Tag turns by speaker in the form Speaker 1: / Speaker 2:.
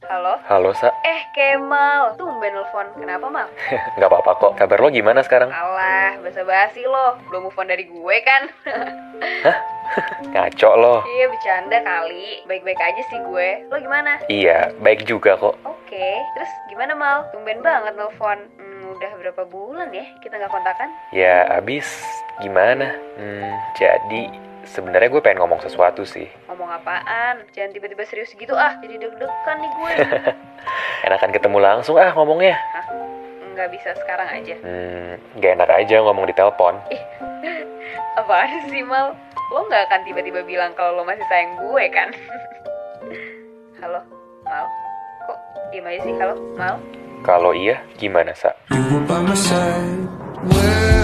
Speaker 1: Halo?
Speaker 2: Halo, Sa.
Speaker 1: Eh, Kemal. Tumben nelfon. Kenapa, Mal?
Speaker 2: Nggak apa-apa kok. Kabar lo gimana sekarang?
Speaker 1: Alah, basa-basi lo. Belum move on dari gue kan?
Speaker 2: Ngaco lo.
Speaker 1: Iya, bercanda kali. Baik-baik aja sih gue. Lo gimana?
Speaker 2: Iya, baik juga kok.
Speaker 1: Oke. Terus gimana, Mal? Tumben banget nelfon. Hmm, udah berapa bulan ya kita nggak kontakan?
Speaker 2: Ya, abis gimana? Hmm, jadi sebenarnya gue pengen ngomong sesuatu sih.
Speaker 1: Ngomong apaan? Jangan tiba-tiba serius gitu ah. Jadi deg-degan nih gue.
Speaker 2: Enakan ketemu langsung ah ngomongnya.
Speaker 1: Nggak bisa sekarang aja.
Speaker 2: Hmm, gak enak aja ngomong di telepon.
Speaker 1: Apaan sih, Mal? Lo nggak akan tiba-tiba bilang kalau lo masih sayang gue, kan? Halo, Mal? Kok diem aja sih? Halo, Mal?
Speaker 2: Kalau iya, gimana, Sa?
Speaker 3: You were by my side when